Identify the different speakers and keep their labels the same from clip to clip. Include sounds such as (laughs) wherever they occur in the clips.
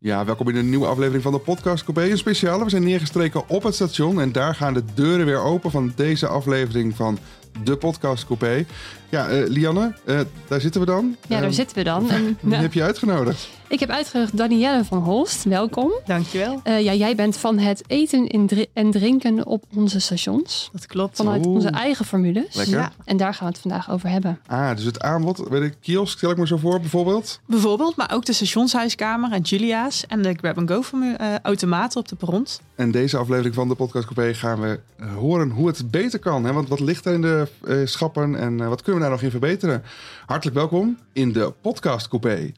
Speaker 1: Ja, welkom in een nieuwe aflevering van de podcast Coupé. Een speciale. We zijn neergestreken op het station en daar gaan de deuren weer open van deze aflevering van de podcast Coupé. Ja, eh, Lianne, eh, daar zitten we dan.
Speaker 2: Ja, daar
Speaker 1: Eh,
Speaker 2: zitten we dan. En,
Speaker 1: Wie
Speaker 2: ja.
Speaker 1: heb je uitgenodigd?
Speaker 2: Ik heb uitgenodigd Danielle van Holst. Welkom.
Speaker 3: Dankjewel.
Speaker 2: Eh, ja, jij bent van het eten in dri- en drinken op onze stations.
Speaker 3: Dat klopt.
Speaker 2: Vanuit
Speaker 1: Oeh.
Speaker 2: onze eigen formules.
Speaker 1: Lekker.
Speaker 3: Ja.
Speaker 2: En daar gaan we het vandaag over hebben.
Speaker 1: Ah, dus het aanbod bij de kiosk stel ik me zo voor bijvoorbeeld.
Speaker 3: Bijvoorbeeld, maar ook de stationshuiskamer en Julia's en de grab-and-go-automaten eh, op de perrons.
Speaker 1: En deze aflevering van de podcast Coupé gaan we eh, horen hoe het beter kan. Hè? Want wat ligt er in de eh, schappen en eh, wat kunnen we daar nog in verbeteren? Hartelijk welkom in de podcast Coupé.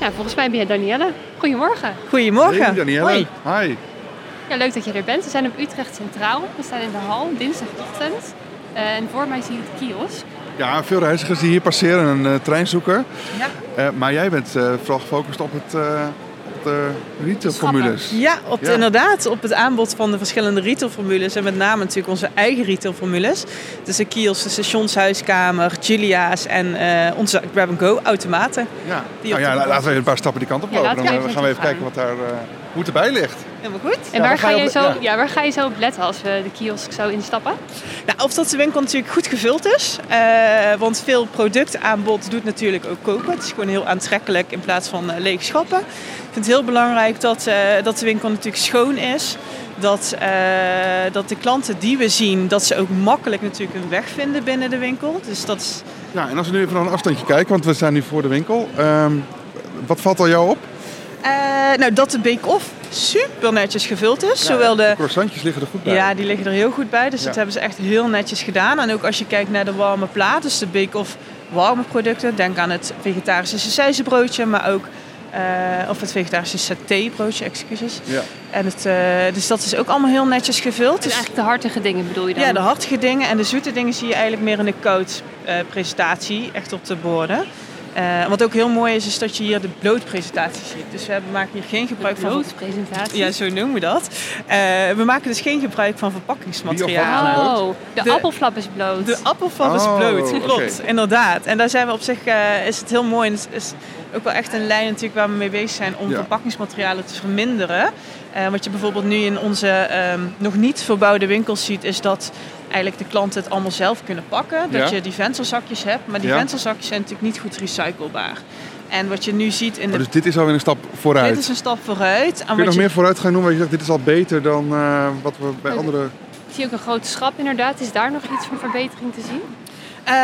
Speaker 2: Ja, volgens mij ben jij Danielle. Goedemorgen.
Speaker 3: Goedemorgen.
Speaker 1: Hey, Danielle.
Speaker 3: Hoi.
Speaker 1: Hi.
Speaker 2: Ja, leuk dat je er bent. We zijn op Utrecht Centraal. We staan in de hal, dinsdagochtend. Eh, en voor mij zie je het kiosk.
Speaker 1: Ja, veel reizigers die hier passeren een eh, trein zoeken.
Speaker 3: Ja.
Speaker 1: Eh, maar jij bent eh, vooral gefocust op, het, eh, op de retailformules.
Speaker 3: Ja, op de-
Speaker 1: Ja.
Speaker 3: inderdaad. Op het aanbod van de verschillende retailformules. En met name natuurlijk onze eigen retailformules. Dus de kiosk, de stationshuiskamer, Julia's en eh, onze grab-and-go-automaten.
Speaker 1: Ja.
Speaker 3: Die
Speaker 1: Nou
Speaker 3: op
Speaker 1: ja,
Speaker 3: de-
Speaker 1: la- laten we even een paar stappen die kant op
Speaker 2: Ja,
Speaker 1: lopen.
Speaker 2: laten we
Speaker 1: dan eh,
Speaker 2: even
Speaker 1: gaan we even kijken
Speaker 2: gaan.
Speaker 1: wat daar, eh, hoe het erbij ligt.
Speaker 3: Helemaal goed.
Speaker 2: En
Speaker 1: Ja,
Speaker 2: waar,
Speaker 1: waar
Speaker 2: ga
Speaker 1: ga je
Speaker 2: jij
Speaker 1: op-
Speaker 2: zo,
Speaker 1: ja.
Speaker 2: ja. waar ga je zo op letten als we de kiosk zo instappen?
Speaker 3: Nou, of dat de winkel natuurlijk goed gevuld is. eh, want veel productaanbod doet natuurlijk ook kopen. Het is gewoon heel aantrekkelijk in plaats van eh, leeg schappen. Ik vind het heel belangrijk dat, eh, dat de winkel natuurlijk schoon is. Dat, eh, dat de klanten die we zien, dat ze ook makkelijk natuurlijk hun weg vinden binnen de winkel. Dus dat is
Speaker 1: Ja, en als we nu even naar een afstandje kijken, want we staan nu voor de winkel. Ehm, wat valt al jou op?
Speaker 3: eh, nou, dat de bake-off super netjes gevuld is. Zowel de,
Speaker 1: croissantjes liggen er goed bij.
Speaker 3: Ja, die liggen er heel goed bij. Dus
Speaker 1: Ja.
Speaker 3: dat hebben ze echt heel netjes gedaan. En ook als je kijkt naar de warme plaat, dus de bake of warme producten. Denk aan het vegetarische sausijzenbroodje, maar ook... eh, of het vegetarische satébroodje, excuses.
Speaker 1: Ja.
Speaker 3: En het, eh, dus dat is ook allemaal heel netjes gevuld.
Speaker 2: Dus
Speaker 3: Dus-
Speaker 2: eigenlijk de hartige dingen bedoel je dan?
Speaker 3: ja, de hartige dingen en de zoete dingen zie je eigenlijk meer in de koud eh, presentatie, echt op de borden. Eh, wat ook heel mooi is, is dat je hier de blootpresentatie ziet. Dus we hebben, maken hier geen gebruik van...
Speaker 2: presentatie.
Speaker 3: Ja, zo noemen we dat. Eh, we maken dus geen gebruik van verpakkingsmaterialen.
Speaker 1: Biofarma.
Speaker 2: Oh, de,
Speaker 3: nou, De-
Speaker 2: appelflap is bloot.
Speaker 3: De appelflap is
Speaker 1: Oh,
Speaker 3: bloot,
Speaker 1: oké.
Speaker 3: klopt, inderdaad. En daar zijn we op zich, eh, is het heel mooi. En het is ook wel echt een lijn natuurlijk waar we mee bezig zijn om
Speaker 1: Ja.
Speaker 3: verpakkingsmaterialen te verminderen. Eh, wat je bijvoorbeeld nu in onze ehm, nog niet verbouwde winkels ziet, is dat eigenlijk de klanten het allemaal zelf kunnen pakken. Dat
Speaker 1: Ja.
Speaker 3: je die vensterzakjes hebt, maar die
Speaker 1: Ja.
Speaker 3: vensterzakjes zijn natuurlijk niet goed recyclebaar. En wat je nu ziet in de...
Speaker 1: Oh, dus dit is alweer een stap vooruit.
Speaker 3: Dit is een stap vooruit. En
Speaker 1: Kun je
Speaker 3: wat
Speaker 1: nog
Speaker 3: je-
Speaker 1: meer vooruit gaan noemen? Want je zegt, dit is al beter dan eh, wat we bij
Speaker 2: Ja,
Speaker 1: andere...
Speaker 2: Ik zie ook een groot schap inderdaad. Is daar nog iets van verbetering te zien?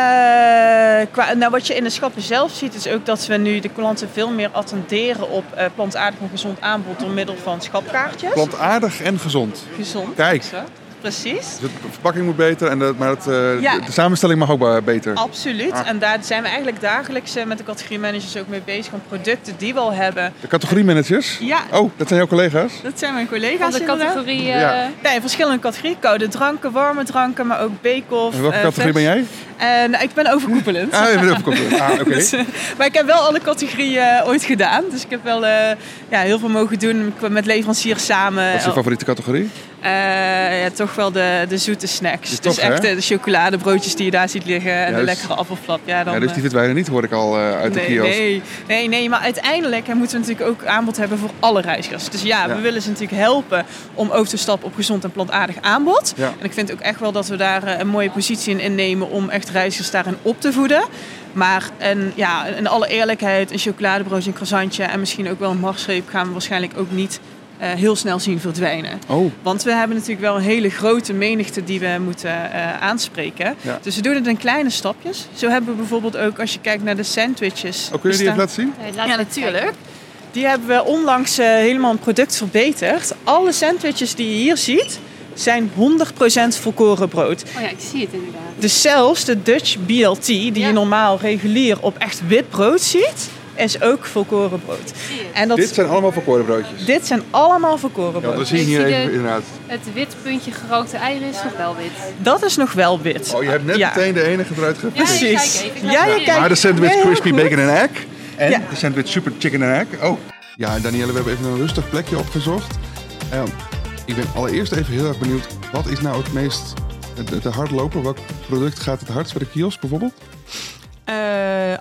Speaker 3: Eh, qua, nou, wat je in de schappen zelf ziet, is ook dat we nu de klanten veel meer attenderen op eh, plantaardig en gezond aanbod door middel van schapkaartjes.
Speaker 1: Plantaardig en gezond.
Speaker 3: gezond.
Speaker 1: Kijk.
Speaker 3: zo. Precies.
Speaker 1: Dus de verpakking moet beter, en de, maar het, eh,
Speaker 3: Ja.
Speaker 1: de, de samenstelling mag ook eh, beter.
Speaker 3: Absoluut.
Speaker 1: Ah.
Speaker 3: En daar zijn we eigenlijk dagelijks eh, met de categoriemanagers ook mee bezig om producten die we al hebben.
Speaker 1: De categoriemanagers?
Speaker 3: Ja,
Speaker 1: Oh, dat zijn jouw collega's?
Speaker 3: dat zijn mijn
Speaker 2: Van
Speaker 3: collega's.
Speaker 2: de
Speaker 3: inderdaad.
Speaker 2: categorie... eh,
Speaker 1: Ja.
Speaker 3: Nee, verschillende categorieën. Koude dranken, warme dranken, maar ook bake-off.
Speaker 1: En welke
Speaker 3: eh,
Speaker 1: categorie ben
Speaker 3: vers-
Speaker 1: jij?
Speaker 3: Eh, nou, ik
Speaker 1: (laughs)
Speaker 3: ben overkoepelend.
Speaker 1: Ah, even
Speaker 3: (laughs)
Speaker 1: overkomen. Ah, oké.
Speaker 3: Dus, eh, maar ik heb wel alle categorieën eh, ooit gedaan. Dus ik heb wel eh, ja, heel veel mogen doen. Ik ben met leveranciers samen. Oh,
Speaker 1: Wat is je favoriete categorie?
Speaker 3: Eh, ja, toch wel de, de zoete snacks.
Speaker 1: Ja,
Speaker 3: dus
Speaker 1: toch,
Speaker 3: echt
Speaker 1: hè?
Speaker 3: eh, de chocoladebroodjes die je daar ziet liggen. En de
Speaker 1: Juist.
Speaker 3: lekkere appelflap. Ja, dan,
Speaker 1: Ja, dus die
Speaker 3: eh,
Speaker 1: verdwijnen niet, hoor ik al eh, uit de
Speaker 3: nee,
Speaker 1: kiosk.
Speaker 3: Nee, nee, nee, maar uiteindelijk hè, moeten we natuurlijk ook aanbod hebben voor alle reizigers. Dus ja,
Speaker 1: Ja.
Speaker 3: we willen ze natuurlijk helpen om over te stappen op gezond en plantaardig aanbod.
Speaker 1: Ja.
Speaker 3: En ik vind ook echt wel dat we daar eh, een mooie positie in innemen om echt reizigers daarin op te voeden. Maar een, ja, in alle eerlijkheid, een chocoladebroodje, een croissantje en misschien ook wel een marsreep gaan we waarschijnlijk ook niet eh, heel snel zien verdwijnen.
Speaker 1: Oh,
Speaker 3: Want we hebben natuurlijk wel een hele grote menigte die we moeten eh, aanspreken.
Speaker 1: Ja.
Speaker 3: Dus we doen het in kleine stapjes. Zo hebben we bijvoorbeeld ook, als je kijkt naar de sandwiches.
Speaker 1: oh kun je die
Speaker 3: bestaan-
Speaker 1: even laten zien?
Speaker 2: eh, laten we
Speaker 3: Ja,
Speaker 2: even
Speaker 3: natuurlijk.
Speaker 2: kijken.
Speaker 3: Die hebben we onlangs eh, helemaal een product verbeterd. Alle sandwiches die je hier ziet, zijn 100% volkoren brood.
Speaker 2: Oh ja, ik zie het inderdaad.
Speaker 3: Dus zelfs de Dutch BLT, die
Speaker 2: Ja.
Speaker 3: je normaal regulier op echt wit brood ziet, is ook volkoren brood.
Speaker 2: Ik zie het.
Speaker 3: En dat,
Speaker 1: Dit
Speaker 3: dit...
Speaker 1: zijn allemaal verkorenbroodjes.
Speaker 3: zijn allemaal volkoren
Speaker 1: Ja,
Speaker 3: brood.
Speaker 1: we zien
Speaker 2: Ik
Speaker 1: hier
Speaker 2: zie de-
Speaker 1: even inderdaad.
Speaker 2: Het wit puntje gerookte eieren is nog wel wit.
Speaker 3: Dat is nog wel wit.
Speaker 1: Oh, je hebt net
Speaker 3: Ja.
Speaker 1: meteen de enige eruit
Speaker 2: Ja,
Speaker 1: gepikt.
Speaker 2: ik
Speaker 3: Precies.
Speaker 2: kijk even. Ik
Speaker 3: Ja,
Speaker 2: laat
Speaker 3: je
Speaker 2: zien.
Speaker 3: kijkt.
Speaker 1: Maar de sandwich
Speaker 3: Ja, heel
Speaker 1: crispy
Speaker 3: goed.
Speaker 1: bacon en egg. En
Speaker 3: Ja.
Speaker 1: de sandwich super chicken en egg. Oh. Ja, en Danielle, we hebben even een rustig plekje opgezocht. Ehm, ik ben allereerst even heel erg benieuwd. Wat is nou het meest... De, de hardloper, welk product gaat het hardst bij de kiosk bijvoorbeeld?
Speaker 3: Eh,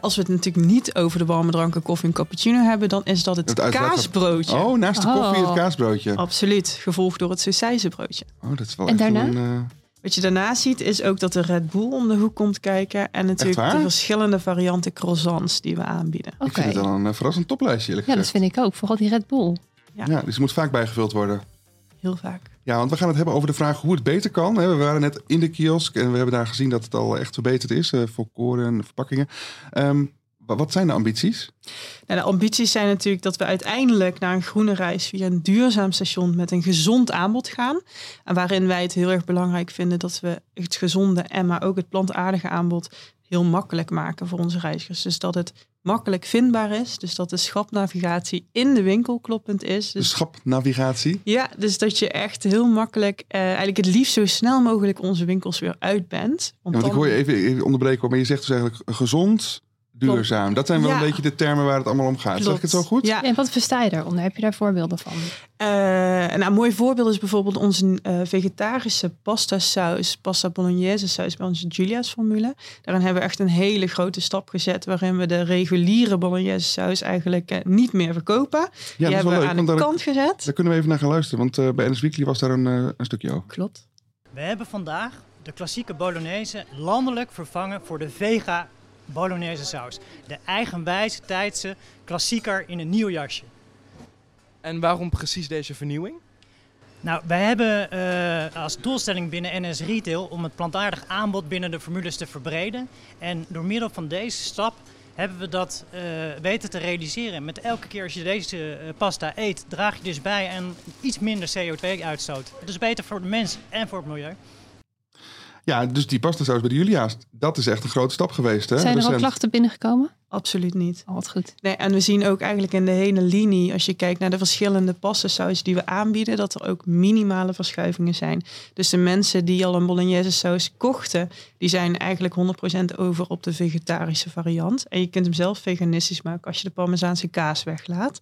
Speaker 3: als we het natuurlijk niet over de warme dranken koffie en cappuccino hebben, dan is dat het,
Speaker 1: Het uitlaatklep.
Speaker 3: kaasbroodje.
Speaker 1: Oh, naast de koffie
Speaker 2: Oh.
Speaker 1: het kaasbroodje.
Speaker 3: Absoluut, gevolgd door het sausijzenbroodje.
Speaker 1: Oh, dat is wel
Speaker 2: En
Speaker 1: echt
Speaker 2: daarna?
Speaker 1: een... eh,
Speaker 3: Wat je daarna ziet is ook dat de Red Bull om de hoek komt kijken en natuurlijk
Speaker 1: waar?
Speaker 3: de verschillende varianten croissants die we aanbieden.
Speaker 2: Oké.
Speaker 1: Ik vind het wel een eh, verrassend toplijstje, eerlijk
Speaker 2: Ja, dat
Speaker 1: gezegd.
Speaker 2: vind ik ook. Vooral die Red Bull.
Speaker 1: Ja, dus het moet vaak bijgevuld worden.
Speaker 3: Heel vaak.
Speaker 1: Ja, want we gaan het hebben over de vraag hoe het beter kan. hè. We waren net in de kiosk en we hebben daar gezien dat het al echt verbeterd is. eh, voor koren en verpakkingen. Ehm, wa- wat zijn de ambities?
Speaker 3: Nou, de ambities zijn natuurlijk dat we uiteindelijk naar een groene reis via een duurzaam station met een gezond aanbod gaan. En waarin wij het heel erg belangrijk vinden dat we het gezonde en maar ook het plantaardige aanbod heel makkelijk maken voor onze reizigers. Dus dat het makkelijk vindbaar is, dus dat de schapnavigatie in de winkel kloppend is.
Speaker 1: De
Speaker 3: Dus
Speaker 1: schapnavigatie.
Speaker 3: ja, dus dat je echt heel makkelijk, eh, eigenlijk het liefst zo snel mogelijk onze winkels weer uit bent.
Speaker 1: Ja, want ik
Speaker 3: dan-
Speaker 1: hoor je even, even onderbreken, hoor, maar je zegt dus eigenlijk gezond, duurzaam. Dat zijn wel
Speaker 3: Ja.
Speaker 1: een beetje de termen waar het allemaal om gaat. Zeg ik
Speaker 3: Klopt.
Speaker 1: het zo goed?
Speaker 3: Ja,
Speaker 2: En wat versta je daaronder? Heb je daar voorbeelden van?
Speaker 3: Eh, nou, een mooi voorbeeld is bijvoorbeeld onze eh, vegetarische pasta saus, pasta bolognese saus bij onze Julia's formule. Daarin hebben we echt een hele grote stap gezet waarin we de reguliere bolognese saus eigenlijk eh, niet meer verkopen.
Speaker 1: Ja,
Speaker 3: Die
Speaker 1: dat is
Speaker 3: hebben
Speaker 1: wel
Speaker 3: we
Speaker 1: leuk.
Speaker 3: aan
Speaker 1: Want
Speaker 3: de
Speaker 1: daar,
Speaker 3: kant gezet.
Speaker 1: daar kunnen we even naar gaan luisteren. Want eh, bij NS Weekly was daar een, eh, een stukje over.
Speaker 2: Klopt.
Speaker 4: We hebben vandaag de klassieke bolognese landelijk vervangen voor de vega bolognese saus. De eigenwijze tijdse klassieker in een nieuw jasje.
Speaker 5: En waarom precies deze vernieuwing?
Speaker 4: Nou, wij hebben eh, als doelstelling binnen NS Retail om het plantaardig aanbod binnen de formules te verbreden. En door middel van deze stap hebben we dat eh, weten te realiseren. Met elke keer als je deze eh, pasta eet, draag je dus bij aan iets minder CO2-uitstoot. Dus beter voor de mens en voor het milieu.
Speaker 1: Ja, dus die pastasaus bij de Julia's, dat is echt een grote stap geweest. Hè?
Speaker 2: Zijn er al
Speaker 1: recent.
Speaker 2: klachten binnengekomen?
Speaker 3: Absoluut niet.
Speaker 2: Oh, wat goed.
Speaker 3: Nee, en we zien ook eigenlijk in de hele linie, als je kijkt naar de verschillende passensaus die we aanbieden, dat er ook minimale verschuivingen zijn. Dus de mensen die al een bolognese saus kochten, die zijn eigenlijk 100% over op de vegetarische variant. En je kunt hem zelf veganistisch maken als je de parmezaanse kaas weglaat.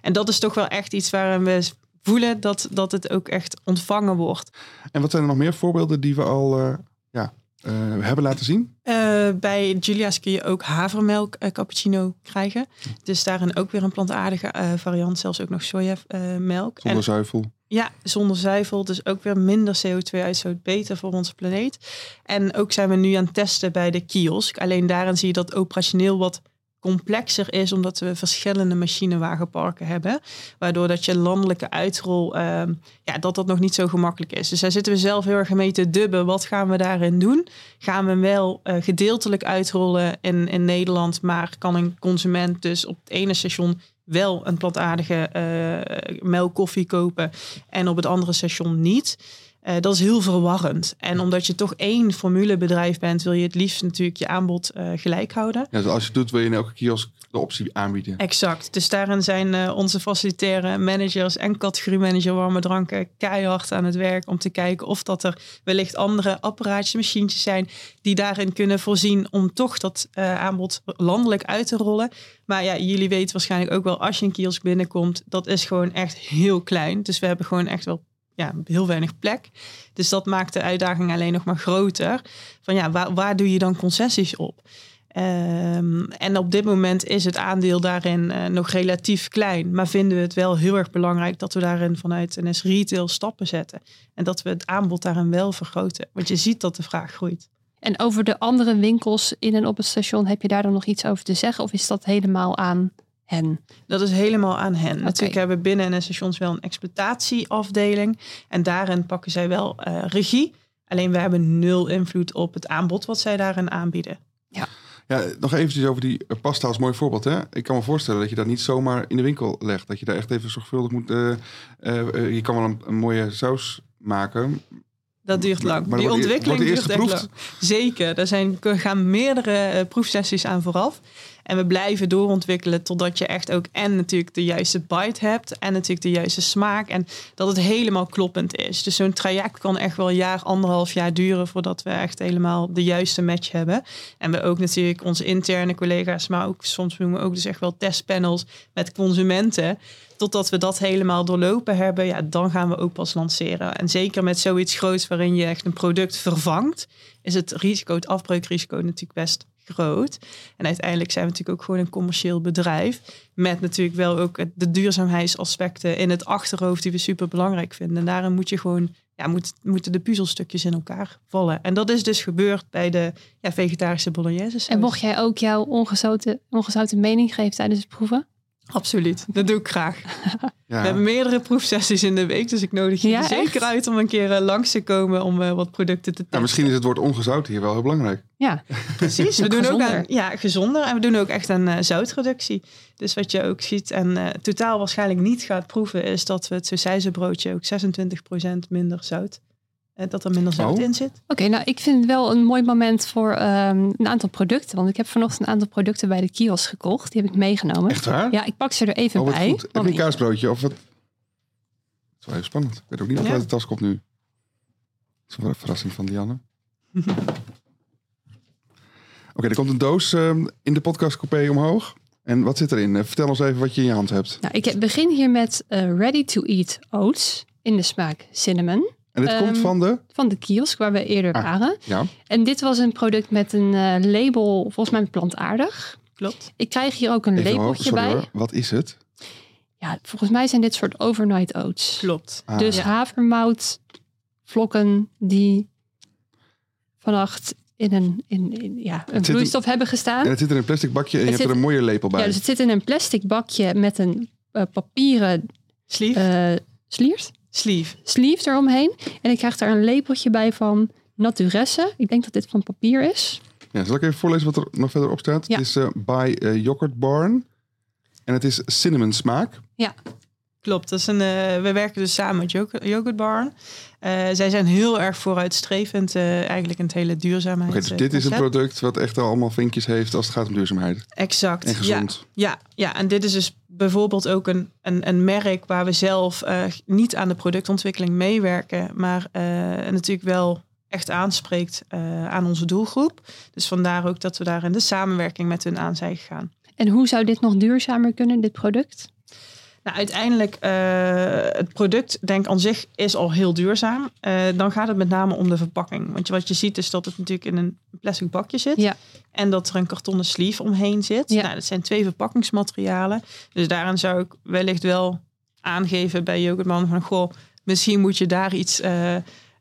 Speaker 3: En dat is toch wel echt iets waarin we voelen dat, dat het ook echt ontvangen wordt.
Speaker 1: En wat zijn er nog meer voorbeelden die we al eh, ja, eh, hebben laten zien?
Speaker 3: Eh, bij Julia's kun je ook havermelk eh, cappuccino krijgen. Dus daarin ook weer een plantaardige eh, variant, zelfs ook nog sojamelk.
Speaker 1: Zonder zuivel.
Speaker 3: Ja, zonder zuivel. Dus ook weer minder CO2-uitstoot. Beter voor onze planeet. En ook zijn we nu aan het testen bij de kiosk. Alleen daarin zie je dat operationeel wat complexer is. Omdat we verschillende machinewagenparken hebben. Waardoor dat je landelijke uitrol, ehm, ja, dat dat nog niet zo gemakkelijk is. Dus daar zitten we zelf heel erg mee te dubben. Wat gaan we daarin doen? Gaan we hem wel eh, gedeeltelijk uitrollen in, in Nederland. Maar kan een consument dus op het ene station wel een plantaardige eh melk koffie kopen en op het andere station niet. Eh, dat is heel verwarrend. En omdat je toch één formulebedrijf bent, wil je het liefst natuurlijk je aanbod eh, gelijk houden.
Speaker 1: Ja, dus als je het doet, wil je in elke kiosk de optie aanbieden.
Speaker 3: Exact. Dus daarin zijn eh, onze facilitaire managers en categoriemanager warme dranken keihard aan het werk om te kijken of dat er wellicht andere apparaatjes, machientjes zijn die daarin kunnen voorzien om toch dat eh, aanbod landelijk uit te rollen. Maar ja, jullie weten waarschijnlijk ook wel als je een kiosk binnenkomt, dat is gewoon echt heel klein. Dus we hebben gewoon echt wel ja, heel weinig plek. Dus dat maakt de uitdaging alleen nog maar groter. Van ja, waar, waar doe je dan concessies op? Ehm, en op dit moment is het aandeel daarin eh, nog relatief klein. Maar vinden we het wel heel erg belangrijk dat we daarin vanuit NS Retail stappen zetten. En dat we het aanbod daarin wel vergroten. Want je ziet dat de vraag groeit.
Speaker 2: En over de andere winkels in en op het station, heb je daar dan nog iets over te zeggen? Of is dat helemaal aan hen?
Speaker 3: Dat is helemaal aan hen. Natuurlijk
Speaker 2: Oké.
Speaker 3: hebben we binnen NS Stations wel een exploitatieafdeling. En daarin pakken zij wel eh, regie. Alleen wij hebben nul invloed op het aanbod wat zij daarin aanbieden.
Speaker 1: Ja, nog eventjes over die eh, pasta als mooi voorbeeld. Hè? Ik kan me voorstellen dat je dat niet zomaar in de winkel legt. Dat je daar echt even zorgvuldig moet... eh, eh, eh, je kan wel een, een mooie saus maken.
Speaker 3: Dat duurt
Speaker 1: Maar-
Speaker 3: lang.
Speaker 1: maar
Speaker 3: die
Speaker 1: wordt e-
Speaker 3: ontwikkeling
Speaker 1: wordt
Speaker 3: duurt
Speaker 1: eerst
Speaker 3: echt lang. Zeker. Er zijn, er gaan meerdere eh, proefsessies aan vooraf. En we blijven doorontwikkelen totdat je echt ook en natuurlijk de juiste bite hebt. En natuurlijk de juiste smaak. En dat het helemaal kloppend is. Dus zo'n traject kan echt wel een jaar, anderhalf jaar duren voordat we echt helemaal de juiste match hebben. En we ook natuurlijk onze interne collega's, maar ook soms doen we ook dus echt wel testpanels met consumenten. Totdat we dat helemaal doorlopen hebben, ja, dan gaan we ook pas lanceren. En zeker met zoiets groots waarin je echt een product vervangt, is het risico, het afbreukrisico natuurlijk best groot. En uiteindelijk zijn we natuurlijk ook gewoon een commercieel bedrijf. Met natuurlijk wel ook het- de duurzaamheidsaspecten in het achterhoofd die we super belangrijk vinden. En daarin moet je gewoon, ja, moet, moeten de puzzelstukjes in elkaar vallen. En dat is dus gebeurd bij de ja, vegetarische bolognese saus.
Speaker 2: En mocht jij ook jouw ongezouten, ongezouten mening geven tijdens het proeven?
Speaker 3: Absoluut, dat doe ik graag.
Speaker 1: Ja.
Speaker 3: We hebben meerdere proefsessies in de week, dus ik nodig je
Speaker 2: Ja,
Speaker 3: zeker
Speaker 2: echt?
Speaker 3: uit om een keer eh, langs te komen om eh, wat producten te testen.
Speaker 1: Nou, misschien is het woord ongezout hier wel heel belangrijk.
Speaker 2: Ja,
Speaker 3: Precies, we
Speaker 2: Ook
Speaker 3: doen ook
Speaker 2: gezonder.
Speaker 3: aan, ja, gezonder en we doen ook echt aan eh, zoutreductie. Dus wat je ook ziet en eh, totaal waarschijnlijk niet gaat proeven, is dat we het sausijzenbroodje ook 26% minder zout, eh, dat er minder zout
Speaker 1: Oh.
Speaker 3: in zit.
Speaker 2: Oké, nou ik vind het wel een mooi moment voor ehm, een aantal producten. Want ik heb vanochtend een aantal producten bij de kiosk gekocht. Die heb ik meegenomen.
Speaker 1: Echt waar?
Speaker 2: Ja, ik pak ze er even
Speaker 1: Oh, wat
Speaker 2: bij.
Speaker 1: goed. Heb
Speaker 2: Want
Speaker 1: je een
Speaker 2: ik-
Speaker 1: kaasbroodje of wat? Het is wel heel spannend. Ik weet ook niet wat
Speaker 3: Ja.
Speaker 1: uit de tas komt nu. Dat is wel een verrassing van
Speaker 2: (laughs)
Speaker 1: Dianne. Oké, er komt een doos ehm, in de podcastcoupé omhoog. En wat zit erin? Eh, vertel ons even wat je in je hand hebt.
Speaker 2: Nou, ik heb- begin hier met eh, ready-to-eat oats in de smaak cinnamon.
Speaker 1: En dit
Speaker 2: Ehm,
Speaker 1: komt van de...
Speaker 2: Van de kiosk waar we eerder
Speaker 1: Ah.
Speaker 2: waren.
Speaker 1: Ja,
Speaker 2: En dit was een product met een eh, label, volgens mij plantaardig.
Speaker 3: Klopt.
Speaker 2: Ik krijg hier ook een
Speaker 1: even hoog.
Speaker 2: lepeltje
Speaker 1: Sorry
Speaker 2: bij.
Speaker 1: hoor. Wat is het?
Speaker 2: Ja, volgens mij zijn dit soort overnight oats.
Speaker 3: Klopt.
Speaker 1: Ah,
Speaker 2: Dus havermout, vlokken die vannacht in een, in, in- ja, een
Speaker 1: zit hem-
Speaker 2: vloeistof hebben gestaan.
Speaker 1: En het zit in een plastic bakje en je
Speaker 2: Het
Speaker 1: hebt er
Speaker 2: zit-
Speaker 1: een mooie lepel bij.
Speaker 2: Ja, dus het zit in een plastic bakje met een eh, papieren
Speaker 3: Sleeve.
Speaker 2: eh sliert,
Speaker 3: Sleeve.
Speaker 2: sleeve eromheen. En ik krijg daar een lepeltje bij van Naturesse. Ik denk dat dit van papier is.
Speaker 1: Ja, zal ik even voorlezen wat er nog verder op staat?
Speaker 2: Ja.
Speaker 1: Het is eh by eh, Yoghurt Barn. En het is cinnamon smaak.
Speaker 3: Klopt, dat is een, eh, we werken dus samen met Yoghurt, Yoghurt Barn. Eh, zij zijn heel erg vooruitstrevend eh, eigenlijk in het hele eh, duurzaamheid.
Speaker 1: Oké, dus dit is een
Speaker 3: product.
Speaker 1: product wat echt al allemaal vinkjes heeft als het gaat om duurzaamheid
Speaker 3: Exact.
Speaker 1: en
Speaker 3: ja.
Speaker 1: gezond.
Speaker 3: Ja, ja, en dit is dus bijvoorbeeld ook een, een, een merk waar we zelf eh, niet aan de productontwikkeling meewerken, maar eh, natuurlijk wel echt aanspreekt eh, aan onze doelgroep. Dus vandaar ook dat we daar in de samenwerking met hun aan zijn gegaan.
Speaker 2: En hoe zou dit nog duurzamer kunnen, dit product?
Speaker 3: Nou, uiteindelijk, eh, het product, denk aan zich, is al heel duurzaam. Eh, dan gaat het met name om de verpakking. Want je- wat je ziet is dat het natuurlijk in een plastic bakje zit.
Speaker 2: Ja.
Speaker 3: En dat er een kartonnen sleeve omheen zit.
Speaker 2: Ja.
Speaker 3: Nou, dat zijn twee verpakkingsmaterialen. Dus daarin zou ik wellicht wel aangeven bij Yoghurtman van... Goh, misschien moet je daar iets eh,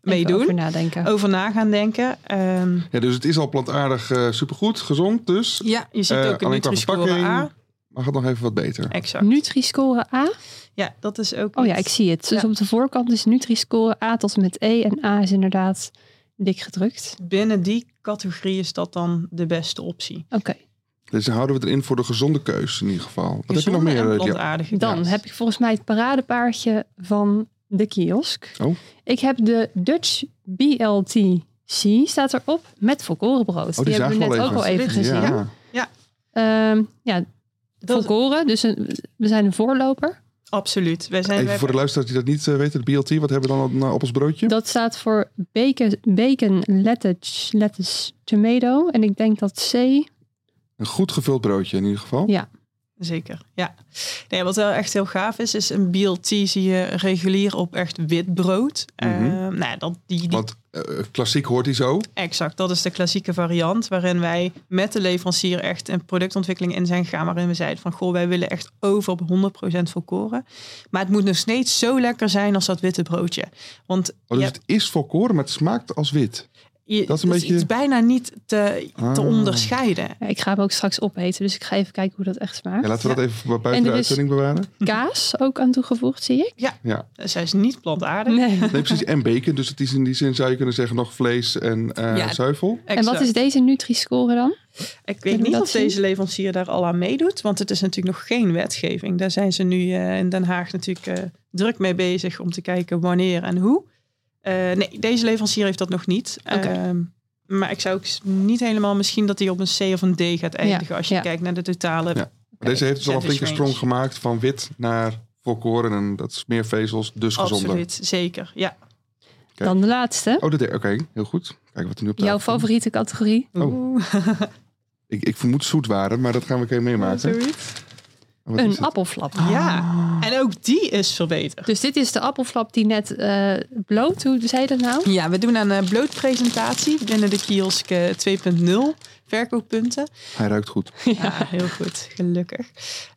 Speaker 3: mee
Speaker 2: Even
Speaker 3: doen.
Speaker 2: over
Speaker 3: Over,
Speaker 2: nadenken.
Speaker 3: na gaan denken. Ehm,
Speaker 1: Ja, dus het is al plantaardig eh, supergoed, gezond dus.
Speaker 3: ja, je ziet
Speaker 1: Eh,
Speaker 3: ook een
Speaker 1: alleen qua
Speaker 3: Nutri-score
Speaker 1: verpakking.
Speaker 3: A.
Speaker 1: Mag het nog even wat beter?
Speaker 3: Exact.
Speaker 2: Nutri-score A.
Speaker 3: Ja, dat is ook
Speaker 2: Mm. Oh ja,
Speaker 3: iets.
Speaker 2: ik zie het. Dus
Speaker 3: Ja.
Speaker 2: op de voorkant is Nutri-score A tot en met E. En A is inderdaad dik gedrukt.
Speaker 3: binnen die categorie is dat dan de beste optie.
Speaker 2: Oké,
Speaker 1: Dus dan houden we het erin voor de gezonde keus in ieder geval. Wat heb je nog
Speaker 3: Gezonde
Speaker 1: meer? eh,
Speaker 3: en
Speaker 1: Dia-
Speaker 3: plantaardige
Speaker 2: dan
Speaker 3: kaas.
Speaker 2: heb ik volgens mij het paradepaardje van de kiosk.
Speaker 1: Oh.
Speaker 2: Ik heb de Dutch BLTC, staat erop, met volkorenbrood.
Speaker 1: Oh, die zagen
Speaker 2: hebben we net
Speaker 1: we al
Speaker 2: ook al even
Speaker 3: Absoluut,
Speaker 2: gezien.
Speaker 1: Ja.
Speaker 2: Ehm, ja,
Speaker 3: Dat-
Speaker 2: volkoren, dus een- we zijn een voorloper.
Speaker 3: Absoluut. Wij zijn wij-
Speaker 1: Even voor de luisteraars die dat niet eh, weten, de BLT, wat hebben we dan op, nou, op ons broodje?
Speaker 2: Dat staat voor bacon, bacon lettuce, lettuce, tomato. En ik denk dat C...
Speaker 1: Een goed gevuld broodje in ieder geval.
Speaker 2: Ja.
Speaker 3: Zeker, ja. Nee, wat wel echt heel gaaf is, is een BLT zie je regulier op echt wit brood. Eh,
Speaker 1: Mhm.
Speaker 3: nou, dat, die, die-
Speaker 1: Want eh, klassiek hoort hij zo.
Speaker 3: exact, dat is de klassieke variant waarin wij met de leverancier echt een productontwikkeling in zijn gegaan. Waarin we zeiden van, goh, wij willen echt over op 100% volkoren. Maar het moet nog steeds zo lekker zijn als dat witte broodje. Want
Speaker 1: Oh, dus
Speaker 3: je-
Speaker 1: het is volkoren, maar het smaakt als wit.
Speaker 3: je,
Speaker 1: dat is een beetje-
Speaker 3: het is bijna niet te, te
Speaker 1: Ah.
Speaker 3: onderscheiden.
Speaker 2: Ja, ik ga hem ook straks opeten, dus ik ga even kijken hoe dat echt smaakt.
Speaker 1: Ja, laten we dat even bu- buiten
Speaker 2: En
Speaker 1: de
Speaker 2: er is-
Speaker 1: uitzending bewaren.
Speaker 2: Kaas ook aan toegevoegd, zie ik.
Speaker 3: Zij is niet plantaardig.
Speaker 2: Nee.
Speaker 1: Nee,
Speaker 2: (laughs)
Speaker 1: precies. En bacon. Dus het is in die zin zou je kunnen zeggen nog vlees en eh,
Speaker 3: Ja.
Speaker 1: zuivel.
Speaker 2: En wat is deze Nutri-score dan?
Speaker 3: Ik
Speaker 2: Kunnen
Speaker 3: weet
Speaker 2: we
Speaker 3: niet
Speaker 2: dat
Speaker 3: of
Speaker 2: zien?
Speaker 3: deze leverancier daar al aan meedoet, want het is natuurlijk nog geen wetgeving. Daar zijn ze nu eh, in Den Haag natuurlijk eh, druk mee bezig om te kijken wanneer en hoe. Eh, nee, deze leverancier heeft dat nog niet.
Speaker 2: Oké.
Speaker 3: Ehm, maar ik zou ook s- niet helemaal misschien dat hij op een C of een D gaat eindigen als je
Speaker 2: ja.
Speaker 3: kijkt naar de totale.
Speaker 1: Ja. Maar deze heeft dus al een
Speaker 3: Gender
Speaker 1: flinke
Speaker 3: change.
Speaker 1: sprong gemaakt van wit naar volkoren. En dat is meer vezels, dus gezonder.
Speaker 3: Absoluut, zeker. Ja.
Speaker 1: Oké.
Speaker 2: Dan de laatste.
Speaker 1: Oh, de derde. Oké, heel goed. Kijken wat er nu op
Speaker 2: Jouw
Speaker 1: tafel komt.
Speaker 2: favoriete categorie.
Speaker 1: Oh.
Speaker 3: Oeh, (laughs)
Speaker 1: Ik, ik vermoed zoetwaren, maar dat gaan we een keer meemaken. Oh,
Speaker 3: zoiets.
Speaker 1: Wat is
Speaker 2: Een
Speaker 1: het?
Speaker 2: appelflap.
Speaker 3: Ja, en ook die is verbeterd.
Speaker 2: Dus dit is de appelflap die net eh bloot. Hoe zei je dat nou?
Speaker 3: Ja, we doen aan een blootpresentatie binnen de kiosk eh, 2.0 verkooppunten.
Speaker 1: Hij ruikt goed.
Speaker 3: Ja, (laughs) heel goed. Gelukkig.